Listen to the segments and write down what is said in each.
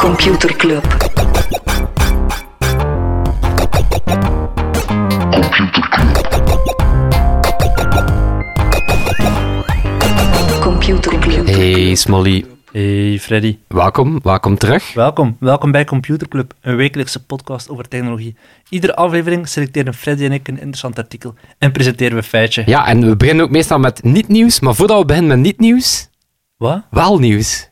Computer Club. Computer Club. Eh. Hey Smolly, Hey Freddy, welkom, welkom terug. welkom. Welkom bij Computer Club, een wekelijkse podcast over technologie. Iedere aflevering selecteren Freddy en ik een interessant artikel en presenteren we een feitje. Ja, en we beginnen ook meestal met niet-nieuws, maar voordat we beginnen met niet-nieuws, Wat? wel nieuws.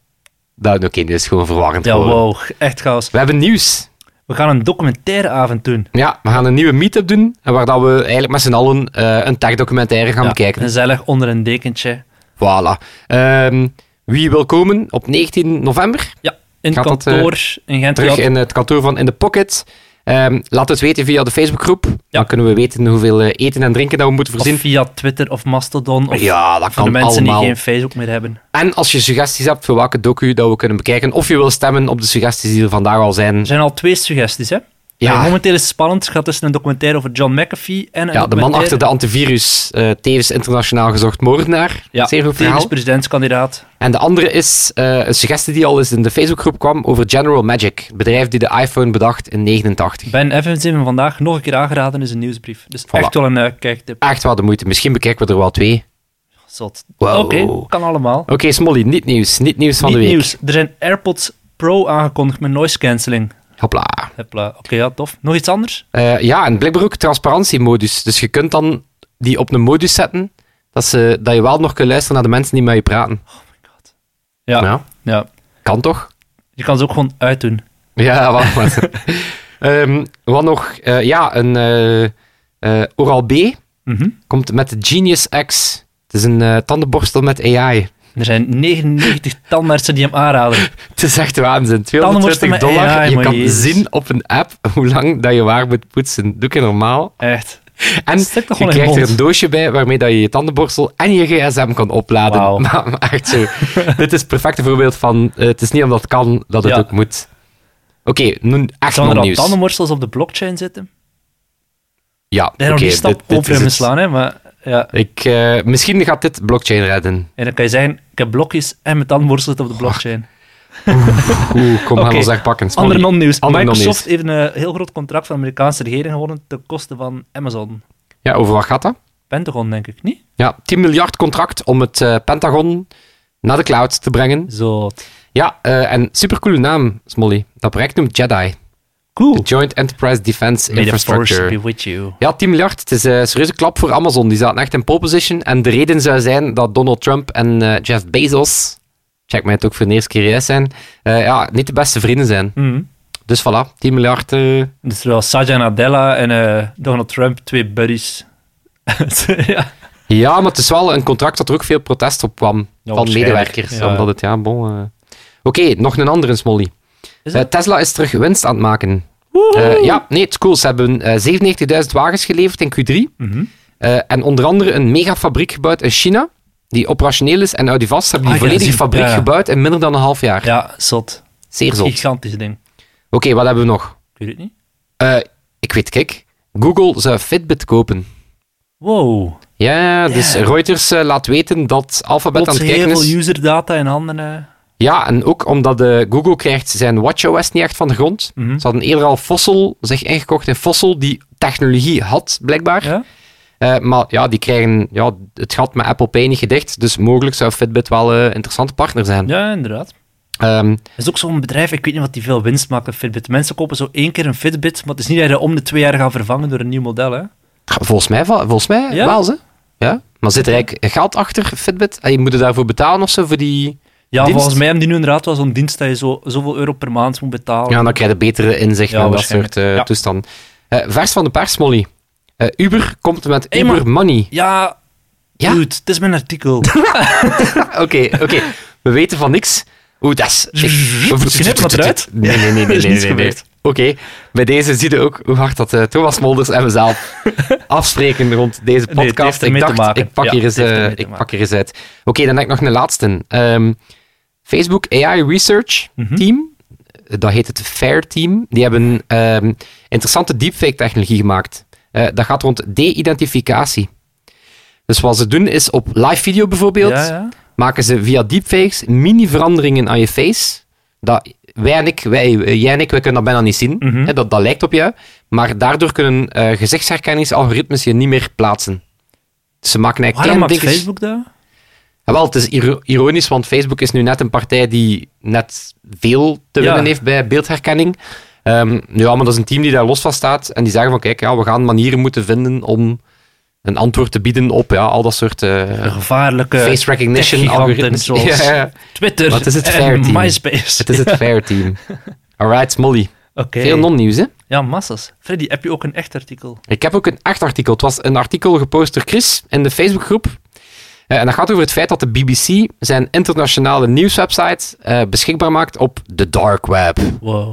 Dat, oké, dit is gewoon verwarrend. Ja, geworden. wow, echt chaos. We hebben nieuws. We gaan een documentaireavond doen. Ja, we gaan een nieuwe meetup doen, en waar dat we eigenlijk met z'n allen eh, een tech-documentaire gaan Ja, bekijken. Gezellig onder een dekentje. Voilà. Ehm, wie wil komen op 19 november? Ja, in het Gaat dat, eh, kantoor in Gent. Terug Ja, in het kantoor van In The Pocket. Ehm, laat het weten via de Facebookgroep. Dan kunnen we weten hoeveel eh, eten en drinken dat we moeten of voorzien. via Twitter of Mastodon. Of Ja, dat voor kan de mensen allemaal. die geen Facebook meer hebben. En als je suggesties hebt voor welke docu dat we kunnen bekijken, of je wil stemmen op de suggesties die er vandaag al Er zijn. zijn al twee suggesties, hè? Ja. Maar momenteel is het spannend. Het gaat tussen een documentaire over John McAfee en Ja, een de man documentaire- achter de antivirus, eh, tevens internationaal gezocht moordenaar. ja, Zeer goed tevens verhaal. presidentskandidaat. En de andere is eh, een suggestie die al eens in de Facebookgroep kwam over General Magic, het bedrijf die de iPhone bedacht in 89. Ben Evans heeft me vandaag nog een keer aangeraden is een nieuwsbrief. Dus echt wel een eh, kijktip. Echt wel de moeite. Misschien bekijken we er wel twee. Zot. Wow. Oké, kan allemaal. Oké, Smolly, niet nieuws. Niet nieuws van Niet de week. nieuws. Er zijn AirPods Pro aangekondigd met noise cancelling. Hopla. Hopla. Oké, ja, tof. Nog iets anders? Eh, ja, en blijkbaar ook transparantiemodus. Dus je kunt dan die op een modus zetten dat, ze, dat je wel nog kunt luisteren naar de mensen die met je praten. Ja. ja. Ja, kan toch? Je kan ze ook gewoon uitdoen. Ja, wacht maar. Ehm, wat nog? Eh, ja, een eh, eh, Oral-B Mhm. komt met de Genius X. Het is een eh, tandenborstel met AI. Er zijn 99 tandartsen die hem aanraden. Het is echt waanzin. 220 Tandenborstel met dollar. AI, je maar kan jezus. zien op een app hoe lang dat je waar moet poetsen. Doe ik normaal. Echt. En Stik toch je gewoon in krijgt je er mond. een doosje bij waarmee dat je je tandenborstel en je gsm kan opladen. Wauw. Maar, maar echt zo. Dit is het perfecte voorbeeld van eh, het is niet omdat het kan dat het Ja. ook moet. Oké, nu echt nog Zouden er al nieuws. tandenborstels op de blockchain zitten? Ja, Daar nog oké, die stap dit- dit over is in het. slaan, hè. Maar ja. Ik, eh, misschien gaat dit blockchain redden. En dan kan je zeggen, ik heb blokjes en mijn tandenborstel zit op de blockchain. Oeh, kom, gaan Oké, we ons echt pakken. Smolly. Ander non-nieuws. Ander Microsoft non-nieuws. heeft een eh, heel groot contract van de Amerikaanse regering gewonnen ten koste van Amazon. Ja, over wat gaat dat? Pentagon, denk ik, niet? Ja, 10 miljard contract om het eh, Pentagon naar de cloud te brengen. Zo. Ja, eh, en supercoole naam, Smolly. Dat project noemt JEDI. Cool. The Joint Enterprise Defense May the force be Infrastructure. with you. Ja, 10 miljard. Het is eh, een serieuze klap voor Amazon. Die zaten echt in pole position. En de reden zou zijn dat Donald Trump en eh, Jeff Bezos, check mij het ook voor de eerste keer juist zijn, eh, ja, niet de beste vrienden zijn. Mhm. Dus voilà, 10 miljard. eh, Dus terwijl Satya Nadella en eh, Donald Trump twee buddies. ja. Ja, maar het is wel een contract dat er ook veel protest op kwam van waarschijnlijk, medewerkers. ja. Omdat het, ja, bon. eh. Oké, nog een andere Smolly. Is Eh, het? Tesla is terug winst aan het maken. Eh, ja, nee, het is cool. Ze hebben eh 97.000 wagens geleverd in Q3. Mhm. Eh, en onder andere een megafabriek gebouwd in China, die operationeel is. En uit die vast ze hebben die Ah, ik heb volledige dat gezien. fabriek Ja, ja. gebouwd in minder dan een half jaar. ja, zot. Zeer zot. Oké, Gigantisch ding. wat hebben we nog? Ik weet het niet. Eh, ik weet, kijk. Google zou Fitbit kopen. Wow. Ja, dus Reuters eh, laat weten dat Alphabet aan Plots het heel kijken is. veel userdata in handen. eh. Ja, en ook omdat eh, Google krijgt zijn WatchOS niet echt van de grond. Mhm. Ze hadden eerder al Fossil zich ingekocht in Fossil, die technologie had, blijkbaar. Ja? Eh, maar ja, die krijgen ja, het gat met Apple Pay niet gedicht. Dus mogelijk zou Fitbit wel een interessante partner zijn. ja, inderdaad. Ehm, Het is ook zo'n bedrijf, ik weet niet wat die veel winst maken, Fitbit. Mensen kopen zo één keer een Fitbit, maar het is niet dat je dat om de twee jaar gaat vervangen door een nieuw model, hè. volgens mij, va- volgens mij Ja? wel, ze. Ja? Maar zit er eigenlijk geld achter, Fitbit? En je moet er daarvoor betalen of zo, voor die... Ja, Dienst? volgens mij hebben die nu inderdaad wel zo'n dienst dat je zo, zoveel euro per maand moet betalen. Ja, dan krijg je betere inzichten Oh. Ja, en dat waarschijnlijk. soort eh, Ja. toestanden. Eh, vers van de pers, Molly. Eh, Uber komt met Hey, Uber maar- Money. Ja, Ja? dude, het is mijn artikel. Oké, oké. We weten van niks. Oeh, dat is... Ik... Knip wat eruit. Nee, nee, nee. Er nee, is nee, niets nee, nee. gebeurd. Oké, bij deze zie je ook hoe hard dat eh, Thomas Molders en mezelf afspreken rond deze Nee, het podcast. heeft ermee ik te dacht, maken. ik pak, Ja, hier eens, het heeft eh, ermee te ik pak maken. hier eens uit. Oké, dan heb ik nog een laatste. Ehm, Facebook AI Research Mhm. Team, eh, dat heet het FAIR Team, die hebben ehm, interessante deepfake-technologie gemaakt. Eh, dat gaat rond de-identificatie. Dus wat ze doen is op live video bijvoorbeeld, Ja, ja. maken ze via deepfakes mini-veranderingen aan je face. Dat wij en ik, wij, eh, jij en ik, wij kunnen dat bijna niet zien. Mhm. Hè, dat, dat lijkt op jou. Maar daardoor kunnen eh gezichtsherkenningsalgoritmes je niet meer plaatsen. Dus ze maken eigenlijk Waarom maakt kleine dingetjes- Facebook dat? Ja, wel, het is iro- ironisch, want Facebook is nu net een partij die net veel te Ja. winnen heeft bij beeldherkenning. Ehm, ja, maar dat is een team die daar los van staat. En die zeggen van, kijk, ja, we gaan manieren moeten vinden om een antwoord te bieden op ja, al dat soort eh, De gevaarlijke face recognition techgiganten algoritmes. zoals Ja, ja, ja. Twitter Wat is het en Fairteam? MySpace. Het is het fair team. Alright, Molly. Oké. Veel non-nieuws, hè? Ja, massas. Freddy, heb je ook een echt artikel? Ik heb ook een echt artikel. Het was een artikel gepost door Chris in de Facebookgroep. Eh, en dat gaat over het feit dat de BBC zijn internationale nieuwswebsite eh, beschikbaar maakt op de dark web. Wow.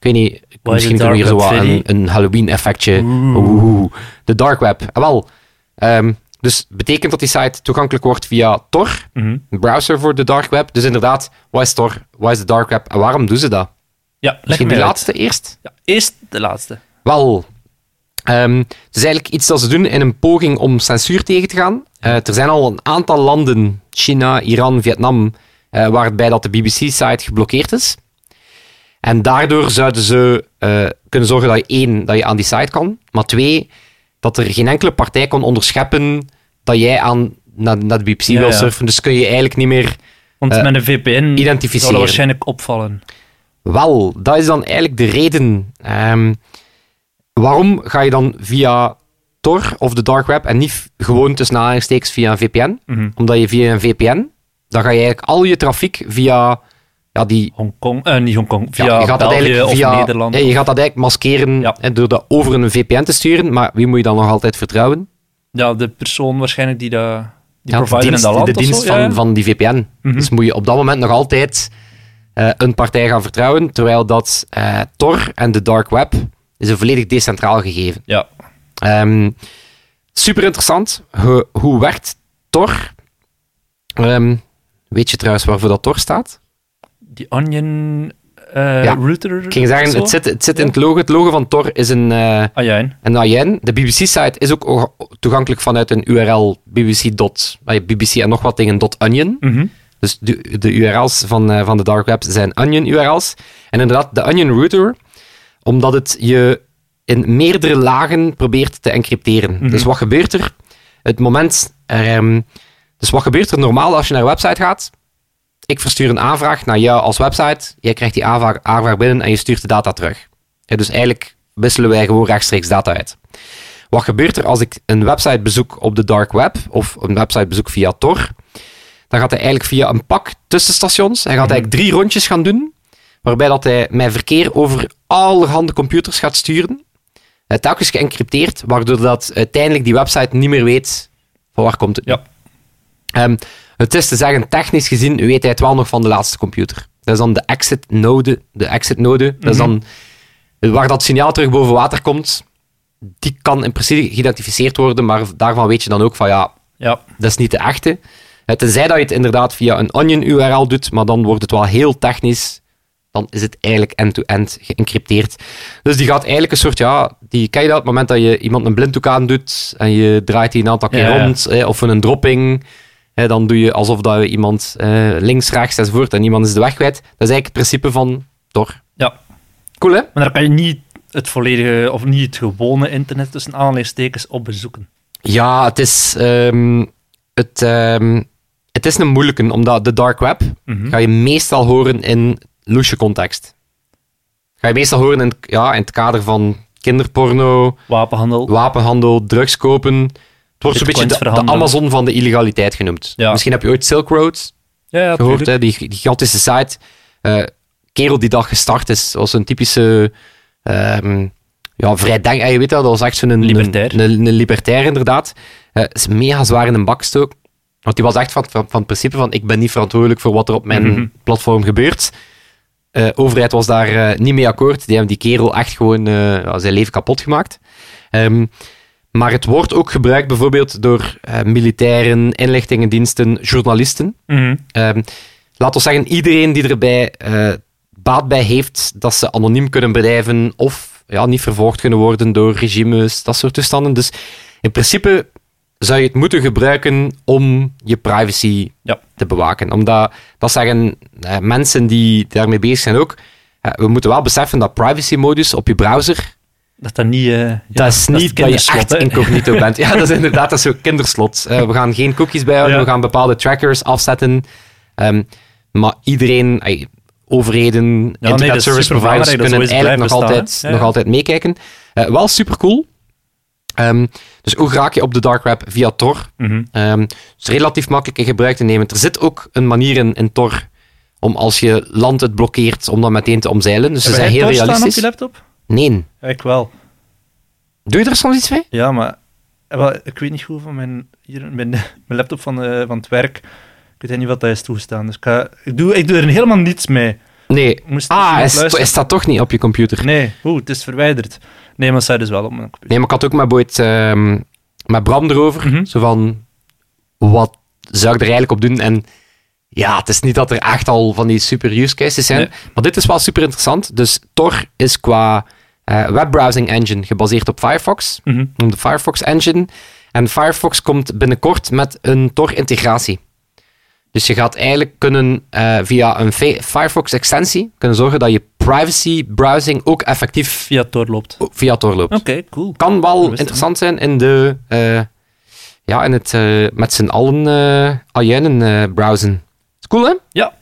Ik weet niet, the misschien kunnen we hier dark zo web, wat een, Freddy? een Halloween-effectje. Oeh. De dark web. Ah, wel, ehm, dus betekent dat die site toegankelijk wordt via Tor, Mhm. een browser voor de dark web. Dus inderdaad, wat is Tor? Wat is de dark web? En waarom doen ze dat? Ja, leg Misschien me de uit. laatste eerst? Ja, eerst de laatste. Wel, ehm, het is eigenlijk iets dat ze doen in een poging om censuur tegen te gaan. Eh, er zijn al een aantal landen, China, Iran, Vietnam, eh, waarbij dat de BBC-site geblokkeerd is. En daardoor zouden ze eh, kunnen zorgen dat je één, dat je aan die site kan, maar twee, dat er geen enkele partij kon onderscheppen dat jij aan, naar, naar de BBC Ja, wil ja. surfen. Dus kun je eigenlijk niet meer Want Eh, met een VPN identificeren. zal dat waarschijnlijk opvallen. Wel, dat is dan eigenlijk de reden. Ehm, waarom ga je dan via Tor of de dark web en niet f- gewoon tussen aanhalingstekens via een VPN? Mhm. Omdat je via een VPN, dan ga je eigenlijk al je trafiek via ja, die... Hongkong, eh, niet Hongkong, via ja, België of Nederland. ja, je gaat dat eigenlijk maskeren Ja. eh, door dat over een VPN te sturen, maar wie moet je dan nog altijd vertrouwen? Ja, de persoon waarschijnlijk die, de, die Ja, de provider dienst, in dat land de of zo, dienst van, ja. Mhm. van die VPN. Dus moet je op dat moment nog altijd eh, een partij gaan vertrouwen, terwijl dat eh, Tor en de dark web is een volledig decentraal gegeven. Ja, Ehm, super interessant. Hoe- hoe werkt Tor? Ehm, weet je trouwens waarvoor dat Tor staat? die onion eh, Ja, router. Ik ging of zeggen, zo? het zit, het zit in het logo. Het logo van Tor is een, eh Ah, ja, en? een AJN. De BBC-site is ook o- toegankelijk vanuit een URL bbc. dot- eh, BBC en nog wat dingen, dot .onion. Mhm. Dus de, de URL's van, eh, van de dark web zijn onion URL's. En inderdaad, de onion router, omdat het je in meerdere lagen probeert te encrypteren. Dus wat gebeurt er? Het moment. ehm, dus wat gebeurt er normaal als je naar een website gaat? Ik verstuur een aanvraag naar jou als website. Jij krijgt die aanvraag, aanvraag binnen en je stuurt de data terug. Hè, dus eigenlijk wisselen wij gewoon rechtstreeks data uit. Wat gebeurt er als ik een website bezoek op de dark web of een website bezoek via Tor? Dan gaat hij eigenlijk via een pak tussenstations. Hij gaat eigenlijk drie rondjes gaan doen. Waarbij dat hij mijn verkeer over allerhande computers gaat sturen. Het telkens geëncrypteerd, waardoor dat uiteindelijk die website niet meer weet van waar komt het. nu. Ja. Ehm, het is te zeggen, technisch gezien weet hij het wel nog van de laatste computer. Dat is dan de exit node. De exit node, dat is dan waar dat signaal terug boven water komt. Die kan in principe geïdentificeerd worden, maar daarvan weet je dan ook van ja, Ja, dat is niet de echte. Eh, Tenzij dat je het inderdaad via een onion-URL doet, maar dan wordt het wel heel technisch. Dan is het eigenlijk end-to-end geëncrypteerd. Dus die gaat eigenlijk een soort, ja, die ken je dat, het moment dat je iemand een blinddoek aan doet en je draait die een aantal keer Ja, ja. rond, eh, of een dropping, eh, dan doe je alsof dat je iemand eh, links, rechts enzovoort en iemand is de weg kwijt. Dat is eigenlijk het principe van Tor. ja. Cool, hè? Maar daar kan je niet het volledige, of niet het gewone internet tussen aanhalingstekens op bezoeken. Ja, het is, ehm, het, ehm, het is een moeilijke, omdat de dark web Mhm. ga je meestal horen in loesje context. Ga je meestal horen in, het- ja, in het kader van kinderporno, Wapenhandel. wapenhandel, drugs kopen. Het wordt zo'n beetje Bitcoins de, de verhandelen. Amazon van de illegaliteit genoemd. Ja. Misschien heb je ooit Silk Road ja, ja, gehoord, tuurlijk. hè, die, die gigantische site. Eh, kerel die dat gestart is, was een typische ehm ja, vrijdenk. eh, Je weet dat, dat was echt zo'n... een- Libertair. Een, een, libertair, inderdaad. Eh, is mega zwaar in een bakstook. Want die was echt van, van, van het principe van, ik ben niet verantwoordelijk voor wat er op mijn Mhm. platform gebeurt. Eh overheid was daar eh, niet mee akkoord. Die hebben die kerel echt gewoon eh, ja, zijn leven kapot gemaakt. Ehm, maar het wordt ook gebruikt bijvoorbeeld door eh, militairen, inlichtingendiensten, journalisten. Mhm. Ehm laat ons zeggen, iedereen die erbij eh, baat bij heeft dat ze anoniem kunnen bedrijven of ja, niet vervolgd kunnen worden door regimes, dat soort toestanden. Dus in principe zou je het moeten gebruiken om je privacy Ja. te bewaken. Omdat, dat zeggen eh, mensen die daarmee bezig zijn ook, Eh, we moeten wel beseffen dat privacy modus op je browser, Dat dat niet... eh, ja, dat is niet dat, je kinderslot, echt hè. incognito bent. Ja, dat is inderdaad dat is zo kinderslot. Eh, we gaan geen cookies bijhouden, Ja. we gaan bepaalde trackers afzetten. Ehm, maar iedereen, ey, overheden, internet nee, dat is service providers superbelangrijk dat kunnen zoiets eigenlijk nog, blijft bestaan, altijd, hè? Ja, nog ja. altijd meekijken. Eh, wel super cool. dus hoe raak je op de dark web via Tor? Mhm. Ehm, het is relatief makkelijk in gebruik te nemen. Er zit ook een manier in, in Tor om als je land het blokkeert, om dat meteen te omzeilen. Dus ze Heb zijn jij heel Tor staan realistisch. op je laptop? Nee. Ja, ik wel. Doe je er soms iets mee? Ja, maar eh, wel, ik weet niet goed van mijn, hier, mijn, mijn laptop van, eh, van het werk. Ik weet niet wat dat is toegestaan. Dus ik, ga- ik, doe, ik doe er helemaal niets mee. Nee. Ik Moest Ah, iemand is, luisteren. Mm. is dat toch niet op je computer? Nee, Nee, oeh, het is verwijderd. Nee, maar het staat dus wel op mijn computer. maar ik had ook met, Boyd, ehm, met Bram erover. Mhm. Zo van, wat zou ik er eigenlijk op doen? En ja, het is niet dat er echt al van die super use cases zijn. Nee. Maar dit is wel super interessant. Dus Tor is qua eh, webbrowsing engine gebaseerd op Firefox. Mhm. om de Firefox Engine. En Firefox komt binnenkort met een Tor-integratie. Dus je gaat eigenlijk kunnen eh, via een fe- Firefox-extensie kunnen zorgen dat je privacy-browsing ook effectief Via Tor loopt. o- via Tor loopt. Oké, cool. Kan wist wel het interessant zijn in de... eh, ja, in het eh, met z'n allen eh ajuinen eh, browsen. Is cool, hè? Ja.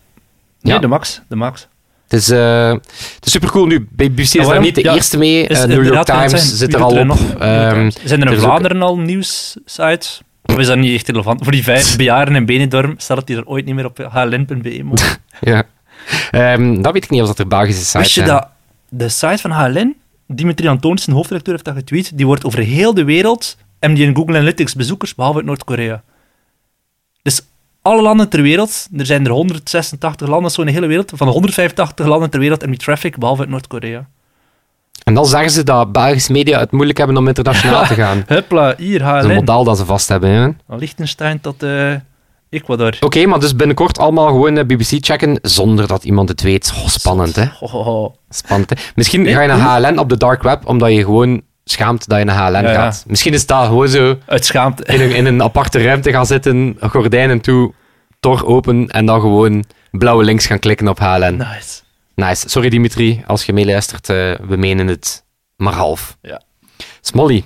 Nee, Ja. de max. De max. Het is, eh, het is supercool nu. BBC is daar waarom? niet de Ja, eerste mee. Eh, New York inderdaad wat Times het zijn. zit Wie er al doet op. nog? New York Ehm, Times. zijn er er in is ook- Vlaanderen al nieuwssites? Of is dat niet echt relevant? Voor die vijf bejaarden in Benidorm staat het hier ooit niet meer op hln.be. maar- ja. Ehm, dat weet ik niet of dat er Belgische sites Wist je zijn. dat de site van HLN, Dimitri Antonissen, hoofdredacteur, heeft dat getweet, die wordt over heel de wereld, en die in Google Analytics bezoekers, behalve uit Noord-Korea. Dus alle landen ter wereld, er zijn er 186 landen, zo in de hele wereld, van de 185 landen ter wereld, en die traffic, behalve uit Noord-Korea. En dan zeggen ze dat Belgische media het moeilijk hebben om internationaal te gaan. Huppla, hier Dat is een HLN. model dat ze vast hebben. hè. Oké, Van Liechtenstein tot eh, Ecuador. maar dus binnenkort allemaal gewoon eh, BBC checken zonder dat iemand het weet. Oh, spannend, hè? Ho, ho, ho. Spannend, hè? Misschien ga je naar HLN op de dark web omdat je gewoon schaamt dat je naar HLN Ja, ja. gaat. Misschien is dat gewoon zo Uit schaamte. in een, in een aparte ruimte gaan zitten, gordijnen toe, tor open en dan gewoon blauwe links gaan klikken op HLN. Nice. Nice. Sorry Dimitri, als je meeluistert, eh, we menen het maar half. Ja. Smolly,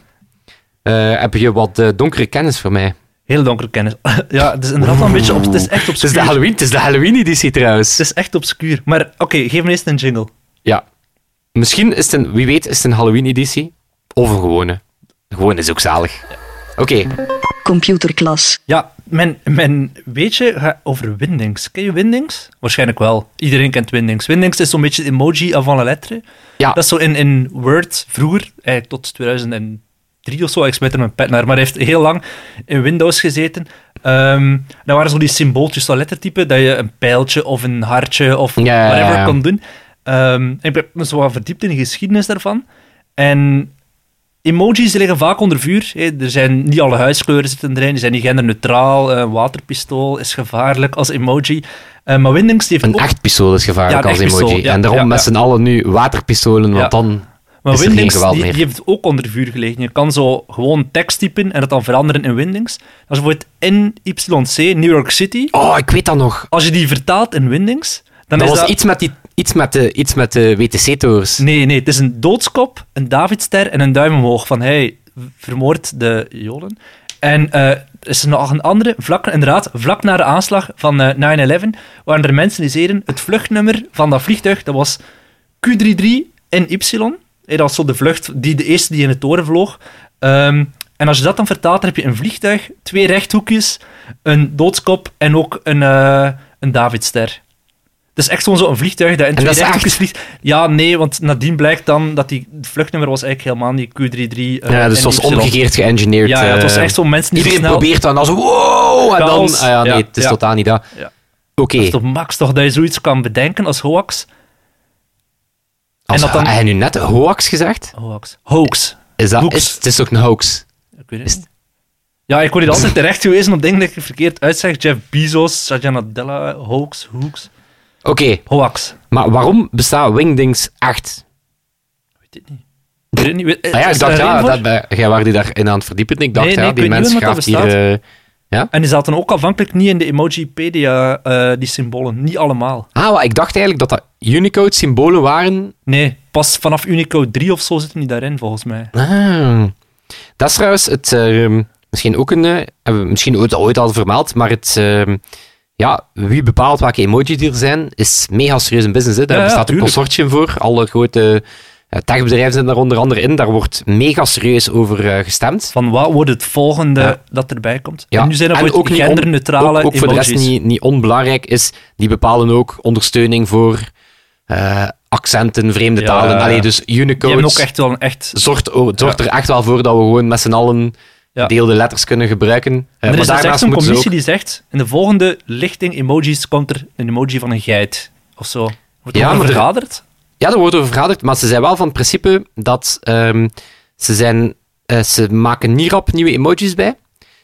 eh, heb je wat eh, donkere kennis voor mij? Heel donkere kennis. ja, het is inderdaad wel een beetje op, het is echt Het is de obscuur. Halloween, het is de Halloween-editie trouwens. Het is echt obscuur. Maar oké, geef me eerst een jingle. Ja. Misschien is het een, wie weet, is het een Halloween-editie. Of een gewone. De gewone is ook zalig. Oké, Computer Class. Ja, mijn, mijn weetje gaat over Windings. Ken je Windings? Waarschijnlijk wel. Iedereen kent Windings. Windings is zo'n beetje het emoji avant la lettre. Ja. Dat is zo in, in Word vroeger, eigenlijk tot 2003 of zo. Ik smijt er mijn pet naar, maar hij heeft heel lang in Windows gezeten. Ehm daar waren zo die symbooltjes, zo lettertypen, dat je een pijltje of een hartje of Ja, ja, ja, whatever ja. kon doen. Ehm, ik heb me zo wat verdiept in de geschiedenis daarvan. En Emojis liggen vaak onder vuur. hè. Er zijn niet alle huiskleuren zitten erin, die zijn niet genderneutraal. eh, Een waterpistool is gevaarlijk als emoji. Eh, maar Windings heeft een ook... echt pistool is gevaarlijk Ja, een als echt emoji. pistool, ja, en daarom ja, met ja. z'n allen nu waterpistolen, want Ja. dan... Maar is er Windings geen geweld die, meer. die heeft ook onder vuur gelegen. Je kan zo gewoon tekst typen en dat dan veranderen in Windings. Als bijvoorbeeld NYC, New York City, Oh, ik weet dat nog. als je die vertaalt in Windings, dan dat is was dat... Iets, met die, iets met de, iets met de WTC-torens. Nee, nee, het is een doodskop, een Davidster en een duim omhoog. Van hey, vermoord de Jolen. En eh, is er nog een andere, vlak, inderdaad, vlak na de aanslag van eh, 9-11, waren er mensen die zeiden: het vluchtnummer van dat vliegtuig dat was Q33 en Y. Hey, dat was zo de vlucht, die, de eerste die in de toren vloog. Ehm, en als je dat dan vertaalt, dan heb je een vliegtuig, twee rechthoekjes, een doodskop en ook een, eh, een Davidster. Het is echt gewoon zo'n vliegtuig dat in En twee dat is echt? rechthoekjes vliegt. Ja, nee, want nadien blijkt dan dat die het vluchtnummer was eigenlijk helemaal niet Q33. eh, Ja, dus en het was Y. omgekeerd geëngineerd. Ja, ja, het was eh, echt zo mensen die zo Iedereen snel... probeert dan, dan zo, wow, en dan... Chaos. Ah ja, nee, Ja, het is ja. totaal niet dat. Ja. Oké, Het is toch max toch dat je zoiets kan bedenken als hoax? als dat dan- heb je nu net hoax gezegd? Hoax. Hoax. Is dat, Hoax. is, het is ook een hoax. Ik weet het niet. Ja, ik word hier altijd terecht gewezen op dingen dat ik verkeerd uitzeg. Jeff Bezos, Satya Nadella, hoax, hoax. Oké, Hoax. maar waarom bestaat Wingdings echt? Weet het niet. Ik weet het niet. Weet- Ah ja, Eh, is ik er dacht, een ja, reden voor? dat, ben- jij was die daarin aan het verdiepen. Ik dacht, Nee, nee, ja, ik die weet mens niet waarom gaat dat hier eh, Ja? En die zaten ook afhankelijk niet in de Emojipedia, eh die symbolen. Niet allemaal. Ah, wel, ik dacht eigenlijk dat dat Unicode-symbolen waren. Nee, pas vanaf Unicode 3 of zo zitten die daarin, volgens mij. Ah. Dat is trouwens het, ehm, misschien ook een, eh, hebben we misschien ooit, ooit al vermeld, maar het, ehm, ja, wie bepaalt welke emojis er zijn, is mega serieus een business. Hè. Daar Ja, ja, bestaat een tuurlijk. consortium voor. Alle grote eh, techbedrijven zitten daar onder andere in. Daar wordt mega serieus over eh, gestemd. Van wat wordt het volgende Ja. dat erbij komt? Ja, En nu zijn er en ook niet on- genderneutrale ook, ook voor de rest emojis. niet, niet onbelangrijk is, die bepalen ook ondersteuning voor eh, accenten, vreemde Ja. talen. Allee, dus Die hebben ook Unicode echt wel een echt... zorgt, o- zorgt er echt wel voor dat we gewoon met z'n allen Ja. deelde letters kunnen gebruiken. Eh, er is dus echt daarnaast zo'n moeten ze commissie die zegt, in de volgende lichting emojis komt er een emoji van een geit. Of zo. Wordt Ja, ja, maar er- vergaderd? Ja, daar wordt over vergaderd, maar ze zijn wel van het principe dat ehm, ze, zijn, eh, ze maken niet rap nieuwe emojis bij.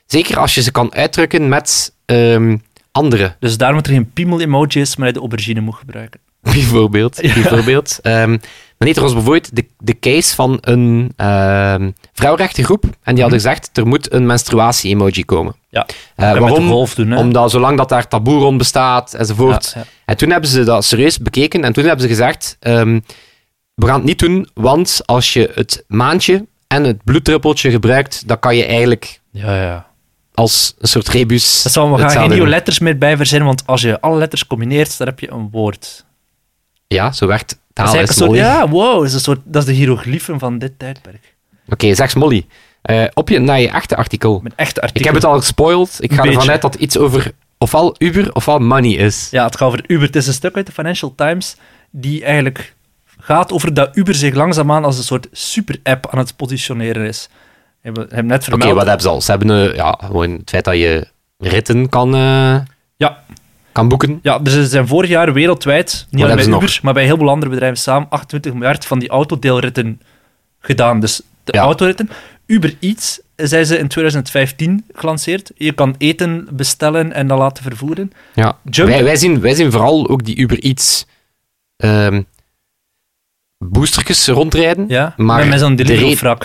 Zeker als je ze kan uitdrukken met ehm andere, Dus daarom dat er geen piemel-emojis, maar hij de aubergine moet gebruiken. bijvoorbeeld. bijvoorbeeld. Ehm meneer, er was bijvoorbeeld de, de case van een ehm vrouwenrechtengroep en die hadden Mhm. gezegd, er moet een menstruatie-emoji komen. Ja, Eh, en met de waarom? golf doen, hè. Omdat zolang dat daar taboe rond bestaat enzovoort. Ja, ja. En toen hebben ze dat serieus bekeken en toen hebben ze gezegd: ehm, we gaan het niet doen, want als je het maandje en het bloeddruppeltje gebruikt, dan kan je eigenlijk Ja, ja. als een soort rebus. Dat is wel, we gaan geen hetzelfde nieuwe doen. letters meer bij verzinnen, want als je alle letters combineert, dan heb je een woord. Ja, zo werkt Dat is taal. eigenlijk Ah, is een soort, Molly. ja, wow, dat is, een soort, dat is de hieroglyphen van dit tijdperk. Oké, zeg Molly. eh, op je, naar je echte artikel. Mijn echte artikel. Ik heb het al gespoild. Ik ga Beetje. ervan uit dat het iets over ofwel Uber ofwel money is. Ja, het gaat over Uber. Het is een stuk uit de Financial Times die eigenlijk gaat over dat Uber zich langzaamaan als een soort super-app aan het positioneren is. We hebben- hebben net Oké, vermeld. wat hebben ze al? Ze hebben eh, ja, gewoon het feit dat je ritten kan, eh, ja, kan boeken. ja, dus er zijn vorig jaar wereldwijd, niet alleen hebben bij ze Uber, nog? maar bij heel veel andere bedrijven samen, 28 miljard van die autodeelritten gedaan. Dus de Ja. autoritten. Uber Eats eh, zijn ze in 2015 gelanceerd. Je kan eten bestellen en dan laten vervoeren. Ja. Jump. Wij, wij, zien, wij zien vooral ook die Uber Eats ehm boostertjes rondrijden. Ja, maar met- met zo'n de delivery-wrak.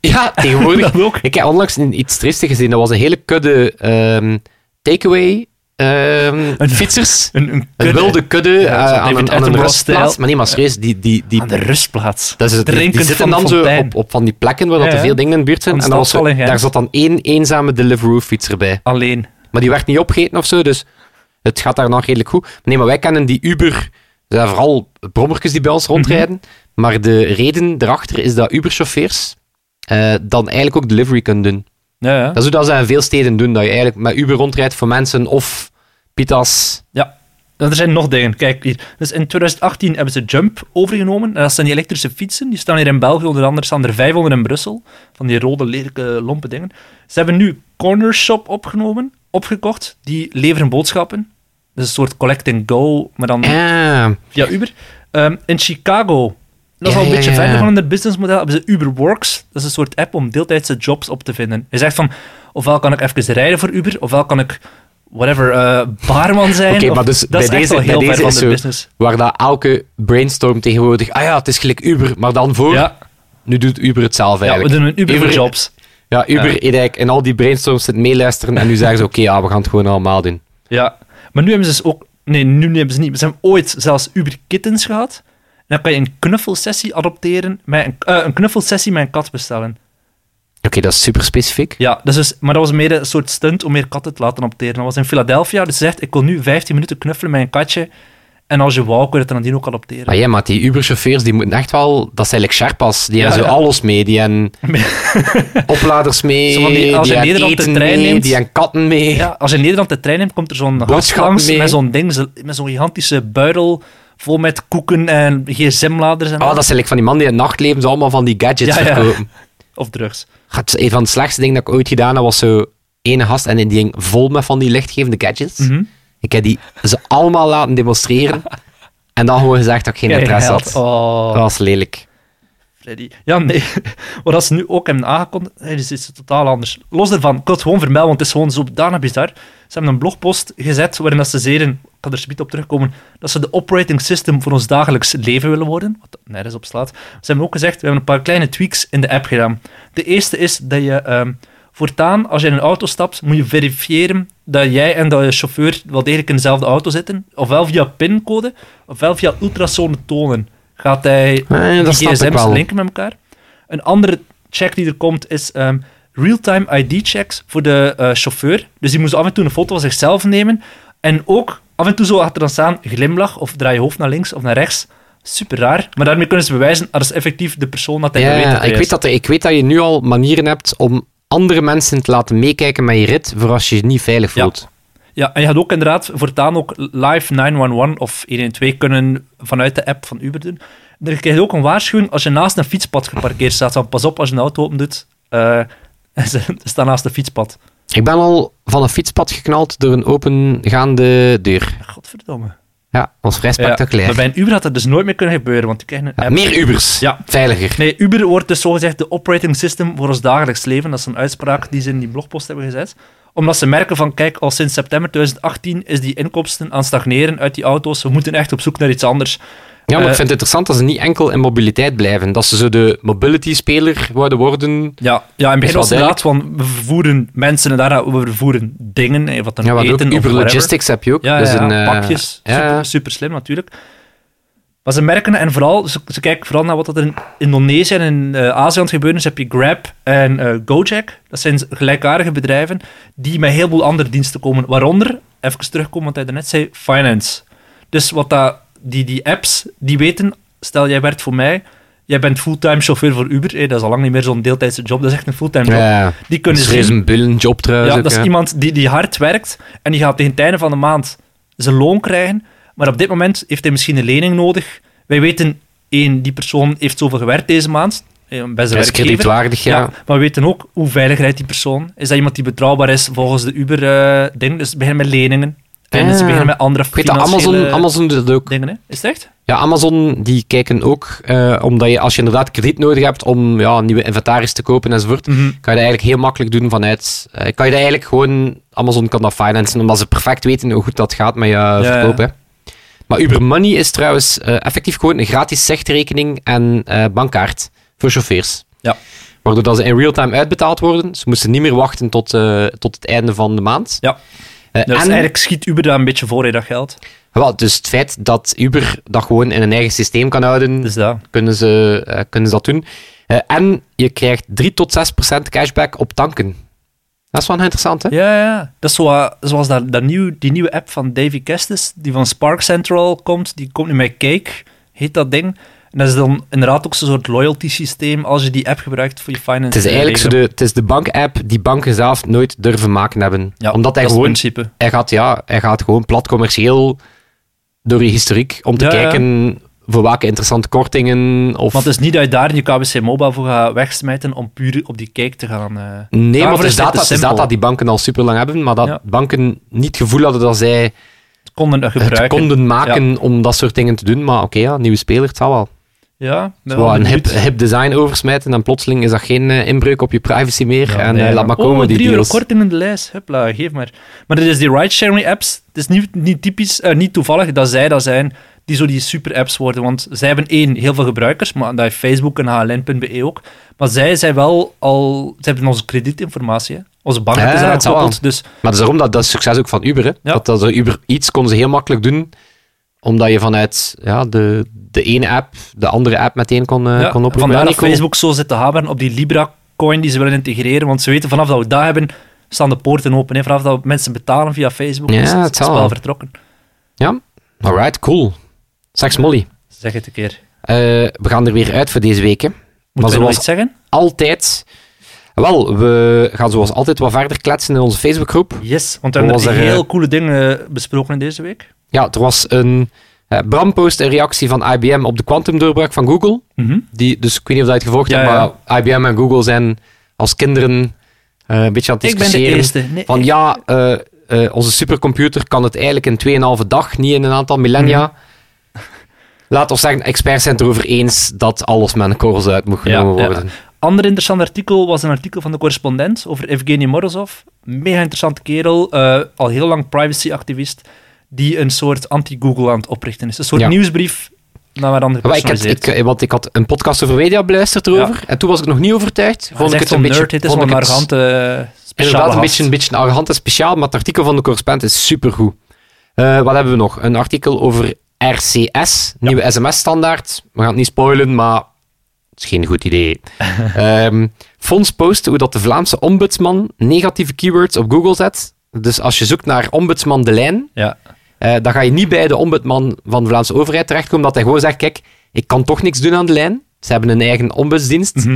re- Ja, tegenwoordig. Dat ook. ik heb onlangs een- iets triestig gezien. Dat was een hele kudde ehm, takeaway ehm, Een- fietsers. Een, een, Een kudde wilde kudde eh, zo'n aan, David een, aan een Attenborough rustplaats. stijl. Maar nee, maar serieus, die... die, die aan de rustplaats. dat is het, die- die Drinkend zitten van dan de zo fontein. op, op van die plekken waar dat Ja, er ja. veel dingen in de buurt zijn. Van En dan was Stadsval er- in Gent. daar zat dan één eenzame Deliveroo-fietser bij. Alleen. Maar die werd niet opgegeten of zo, dus het gaat daar nog redelijk goed. Nee, maar wij kennen die Uber, dat zijn vooral brommertjes die bij Mhm. ons rondrijden. Maar de reden erachter is dat Uber-chauffeurs eh, dan eigenlijk ook delivery kunnen doen. Ja, ja. Dat is hoe dat ze in veel steden doen, dat je eigenlijk met Uber rondrijdt voor mensen of pita's. Ja. En Er zijn nog dingen. Kijk hier. Dus in 2018 hebben ze Jump overgenomen. En dat zijn die elektrische fietsen. Die staan hier in België. Onder andere staan er 500 in Brussel. Van die rode, lelijke, lompe dingen. Ze hebben nu Corner Shop opgenomen, opgekocht. Die leveren boodschappen. Dus een soort collect and go, maar dan Ah, via Uber. Ehm, in Chicago, dat is Ja, al een ja, beetje ja, verder ja. van het businessmodel, hebben ze Uber Works. Dat is een soort app om deeltijdse jobs op te vinden. Je zegt van, ofwel kan ik even rijden voor Uber, ofwel kan ik, whatever, eh, baarman zijn. Oké, Of- maar dus dat bij is echt deze- al bij heel ver deze van is de zo- business. waar dat elke brainstorm tegenwoordig... Ah ja, het is gelijk Uber, maar dan voor... Ja, Nu doet Uber het zelf ja, we eigenlijk. doen een Uber, voor jobs. Ja, Uber Ja. heeft eigenlijk in al die brainstorms zit meeluisteren en nu zeggen ze, oké, ja, we gaan het gewoon allemaal doen. Ja, maar nu hebben ze dus ook... Nee, nu hebben ze niet. Ze hebben ooit zelfs Uber Kittens gehad. En dan kan je een knuffelsessie adopteren met een, eh, een knuffelsessie met een kat bestellen. Oké, dat is super specifiek. Ja, dus is, maar dat was meer een soort stunt om meer katten te laten opteren. Dat was in Philadelphia, dus ze zegt, ik wil nu 15 minuten knuffelen met een katje. En als je wou, kun je het dan nadien ook adopteren. Maar ja, maar die Uber-chauffeurs, die moeten echt wel... Dat zijn like Sherpas. Die hebben Ja, zo ja. alles mee. Die hebben opladers mee. Zo van die- als je in hebben Nederland de eten trein mee, neemt. Die hebben katten mee. Ja, als je in Nederland de trein neemt, komt er zo'n gast Boodschappen langs mee. met zo'n ding, zo- met zo'n gigantische buidel vol met koeken en gsm-laders en Oh, al. dat zijn like van die mannen die in het nachtleven zo allemaal van die gadgets Ja, ja. verkopen. Of drugs. Gaat, een van de slechtste dingen dat ik ooit gedaan heb, was zo ene gast en die ding vol met van die lichtgevende gadgets. Mhm. Ik heb die ze allemaal laten demonstreren. En dan gewoon gezegd dat ik geen Kijk, interesse held. had. Oh. Dat was lelijk. Freddy. Ja, nee. Wat als ze nu ook hebben aangekondigd, nee, dus is het totaal anders. Los daarvan, ik wil het gewoon vermelden, want het is gewoon zodanig bizar. Ze hebben een blogpost gezet waarin dat ze zeiden, ik kan er zometeen op terugkomen, dat ze de operating system voor ons dagelijks leven willen worden, wat nergens op slaat. Ze hebben ook gezegd, we hebben een paar kleine tweaks in de app gedaan. De eerste is dat je ehm, Voortaan, als je in een auto stapt, moet je verifiëren dat jij en dat je chauffeur wel degelijk in dezelfde auto zitten. Ofwel via pincode, ofwel via ultrasonentonen gaat hij Eh, dat die snap ik gsm's wel. linken met elkaar. Een andere check die er komt is ehm, real-time ID-checks voor de eh, chauffeur. Dus die moest af en toe een foto van zichzelf nemen. En ook af en toe zo had er dan staan glimlach of draai je hoofd naar links of naar rechts. Super raar. Maar daarmee kunnen ze bewijzen dat is effectief de persoon dat hij Ja, weet dat hij ik, is. weet dat, er- ik weet dat je nu al manieren hebt om andere mensen te laten meekijken met je rit, voor als je je niet veilig Ja. voelt. Ja, en je had ook inderdaad voortaan ook live 911 of 112 kunnen vanuit de app van Uber doen. Dan krijg je ook een waarschuwing als je naast een fietspad geparkeerd staat. Van pas op als je een auto open doet. eh, ze staan naast een fietspad. Ik ben al van een fietspad geknald door een opengaande deur. Godverdomme. Ja, dat was vrij Ja, spectaculair. maar bij een Uber had dat dus nooit meer kunnen gebeuren, want die krijgen een Ja, app. meer Ubers. Ja. Veiliger. Nee, Uber wordt dus zogezegd de operating system voor ons dagelijks leven. Dat is een uitspraak die ze in die blogpost hebben gezet. Omdat ze merken van, kijk, al sinds september 2018 is die inkomsten aan het stagneren uit die auto's. We moeten echt op zoek naar iets anders. Ja, maar Eh, ik vind het interessant dat ze niet enkel in mobiliteit blijven. Dat ze zo de mobility-speler worden worden. Ja, ja in het begin wel was het inderdaad van, we vervoeren mensen en daarna we vervoeren dingen, eh, wat dan Ja, maar ook eten of Uber whatever. Logistics heb je ook. Ja, Dat is ja, een, ja, eh, pakjes. ja, Super, super slim natuurlijk. Maar ze merken en vooral, ze, ze kijken vooral naar wat er in Indonesië en in eh, Azië aan het gebeuren is. Heb je Grab en eh, Gojek. Dat zijn gelijkaardige bedrijven die met heel veel andere diensten komen. Waaronder, even terugkomen wat hij daarnet zei, finance. Dus wat dat, die, die apps, die weten, stel jij werkt voor mij, jij bent fulltime chauffeur voor Uber. eh, dat is al lang niet meer zo'n deeltijdse job, dat is echt een fulltime job. ja. Die Dat kunnen is zien- reuze een bullenjob trouwens. ja, ook, dat is Eh, hè. iemand die, die hard werkt en die gaat tegen het einde van de maand zijn loon krijgen. Maar op dit moment heeft hij misschien een lening nodig. Wij weten, één, die persoon heeft zoveel gewerkt deze maand. eh, Bij zijn Dat is werkgever. kredietwaardig, ja. Ja, maar we weten ook hoe veilig rijdt die persoon. Is dat iemand die betrouwbaar is volgens de Uber-ding? dus ze beginnen met leningen. Eh, En Ah. ze beginnen met andere Ik weet dat financiële Amazon, Amazon doet dat ook. dingen. Hè? Is het echt? Ja, Amazon die kijken ook, eh, omdat je als je inderdaad krediet nodig hebt om ja, een nieuwe inventaris te kopen enzovoort, Mhm. kan je dat eigenlijk heel makkelijk doen vanuit. eh, kan je dat eigenlijk gewoon, Amazon kan dat financen, omdat ze perfect weten hoe goed dat gaat met je verkoop. Hè. Maar Uber Money is trouwens eh, effectief gewoon een gratis zegtrekening en eh, bankkaart voor chauffeurs. Ja. Waardoor dat ze in real-time uitbetaald worden. Ze moesten niet meer wachten tot, eh, tot het einde van de maand. Ja. Eh, Dus en- eigenlijk schiet Uber daar een beetje voor, hè, dat geld. wel, dus het feit dat Uber dat gewoon in een eigen systeem kan houden, Dus dat. kunnen ze, eh, kunnen ze dat doen. Eh, en je krijgt 3 tot 6 procent cashback op tanken. Dat is wel interessant, hè? Ja, ja. Dat is zo, eh, zoals dat, dat nieuw, die nieuwe app van Davy Kestis, die van Spark Central komt. Die komt nu met Cake, heet dat ding. En dat is dan inderdaad ook zo'n soort loyalty systeem als je die app gebruikt voor je finance. Het is eigenlijk zo de, het is de bank-app die banken zelf nooit durven maken hebben. Ja, Omdat hij dat is gewoon, het principe. hij gaat, ja, hij gaat gewoon plat commercieel door je historiek om te Ja, ja. kijken voor welke interessante kortingen of... Want het is niet dat je daar je KBC Mobile voor gaat wegsmijten om puur op die Cake te gaan. eh. Nee, Daarvoor maar het is is dit data, te het is simpel. data die banken al super lang hebben, maar dat Ja. banken niet het gevoel hadden dat zij Het konden dat het gebruiken. konden maken om dat soort dingen te doen. Maar oké, ja, nieuwe speler, het zal wel. Ja, ik ben Zo, wel een hip, benieuwd. hip design oversmijten en plotseling is dat geen eh, inbreuk op je privacy meer. Ja, en nee, eh, laat maar komen, oh, die drie euro deals. korting in de lijst. Huppla, geef maar. Maar dit is die ride-sharing apps. Het is niet, niet typisch, eh, niet toevallig dat zij dat zijn die zo die super-apps worden. Want zij hebben één, heel veel gebruikers, maar dat heeft Facebook en HLN.be E ook. Maar zij zijn wel al... Ze hebben onze kredietinformatie, hè. Onze bank Ja, is eraan het zal gekoppeld. Dus Maar dat is daarom dat, dat is succes ook van Uber. Hè? Ja. Dat, dat Uber iets konden ze heel makkelijk doen, omdat je vanuit ja, de, de ene app de andere app meteen kon, eh ja, kon oproepen. vandaar Ja, dat Nico. Facebook zo zit te hameren op die Libra-coin die ze willen integreren. Want ze weten, vanaf dat we dat hebben, staan de poorten open. Hè. Vanaf dat mensen betalen via Facebook, Ja, is het het zal spel wel. vertrokken. Ja, alright, cool. Zeg Molly, Zeg het een keer. eh, we gaan er weer uit voor deze week. hè. Maar Moeten we nog zoals iets zeggen? altijd... Wel, we gaan zoals altijd wat verder kletsen in onze Facebookgroep. Yes, want we Hoe hebben was er, heel eh, coole dingen besproken in deze week. Ja, er was een eh, brampost, een reactie van IBM op de kwantumdoorbraak van Google. Die, dus ik weet niet of dat je het gevolgd Ja, hebt, ja. maar IBM en Google zijn als kinderen eh, een beetje aan het Ik ben de discussiëren. eerste. Nee, Van ik- ja, eh, eh, onze supercomputer kan het eigenlijk in 2,5 dag, niet in een aantal millennia. Mhm. Laat ons zeggen, experts zijn het erover eens dat alles met een korrels uit moet genomen Ja, ja. worden. Ander interessant artikel was een artikel van de correspondent over Evgeny Morozov. Mega interessante kerel, eh, al heel lang privacyactivist, die een soort anti-Google aan het oprichten is. Een soort Ja. nieuwsbrief naar een andere Maar ik had, personaliseert. ik, eh, want ik had een podcast over media beluisterd erover. En toen was ik nog niet overtuigd. Hij Vond ik zegt het zo'n een beetje. nerd, dit is vond wel ik een het arrogante eh, Inderdaad, een beetje, een beetje een arrogant en speciaal. Maar het artikel van de correspondent is supergoed. Eh wat hebben we nog? Een artikel over RCS, nieuwe SMS-standaard. We gaan het niet spoilen, maar het is geen goed idee. Ehm, Fons post hoe dat de Vlaamse ombudsman negatieve keywords op Google zet. Dus als je zoekt naar ombudsman de lijn, Ja. eh, dan ga je niet bij de ombudsman van de Vlaamse overheid terechtkomen, omdat hij gewoon zegt, kijk, ik kan toch niks doen aan de lijn. Ze hebben een eigen ombudsdienst.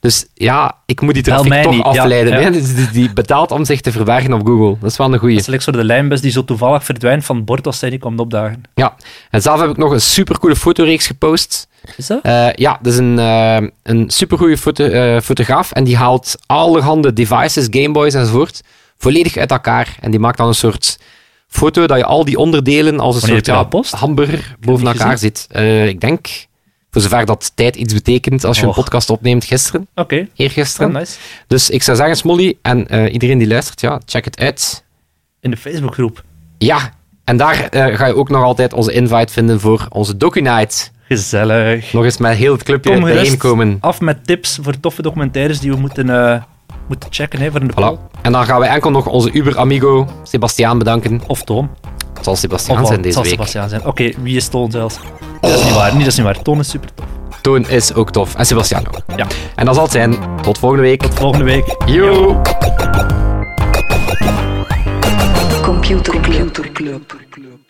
Dus ja, ik moet die Bel traffic Mhm. mij toch niet. Ja, afleiden. ja. hè. Dus die, die betaalt om zich te verbergen op Google. Dat is wel een goeie. Het is like zo de lijnbus die zo toevallig verdwijnt van het bord als zij niet komt opdagen. Ja. En zelf heb ik nog een supercoole fotoreeks gepost. Is dat? Eh, ja, dat is een, eh een supergoeie foto, eh, fotograaf en die haalt allerhande devices, Gameboys enzovoort, volledig uit elkaar. En die maakt dan een soort foto dat je al die onderdelen als een Wanneer soort heb je ja, dat gepost? hamburger boven niet elkaar zit. Eh, ik denk, voor zover dat tijd iets betekent als je Och. een podcast opneemt, gisteren, Oké. eergisteren. Oh, nice. Dus ik zou zeggen, Smolly, en eh, iedereen die luistert, ja, check het uit. In de Facebookgroep. Ja, en daar eh, ga je ook nog altijd onze invite vinden voor onze DocuNight. Gezellig. Nog eens met heel het clubje Kom bijeenkomen. gerust af met tips voor toffe documentaires die we moeten, eh, moeten checken hè, voor in de Voilà. poll. En dan gaan we enkel nog onze Uber-amigo Sebastiaan bedanken. Of Toon. Het zal Of Sebastiaan wel, zijn het deze zal week. Sebastiaan zijn. Oké, wie is Toon zelfs? Dat is niet waar. Nee, dat is niet waar. Toon is super tof. Toon is ook tof. En Sebastiaan ook. Ja, En dat zal het zijn. Tot volgende week. volgende week. Yo. Computer Club.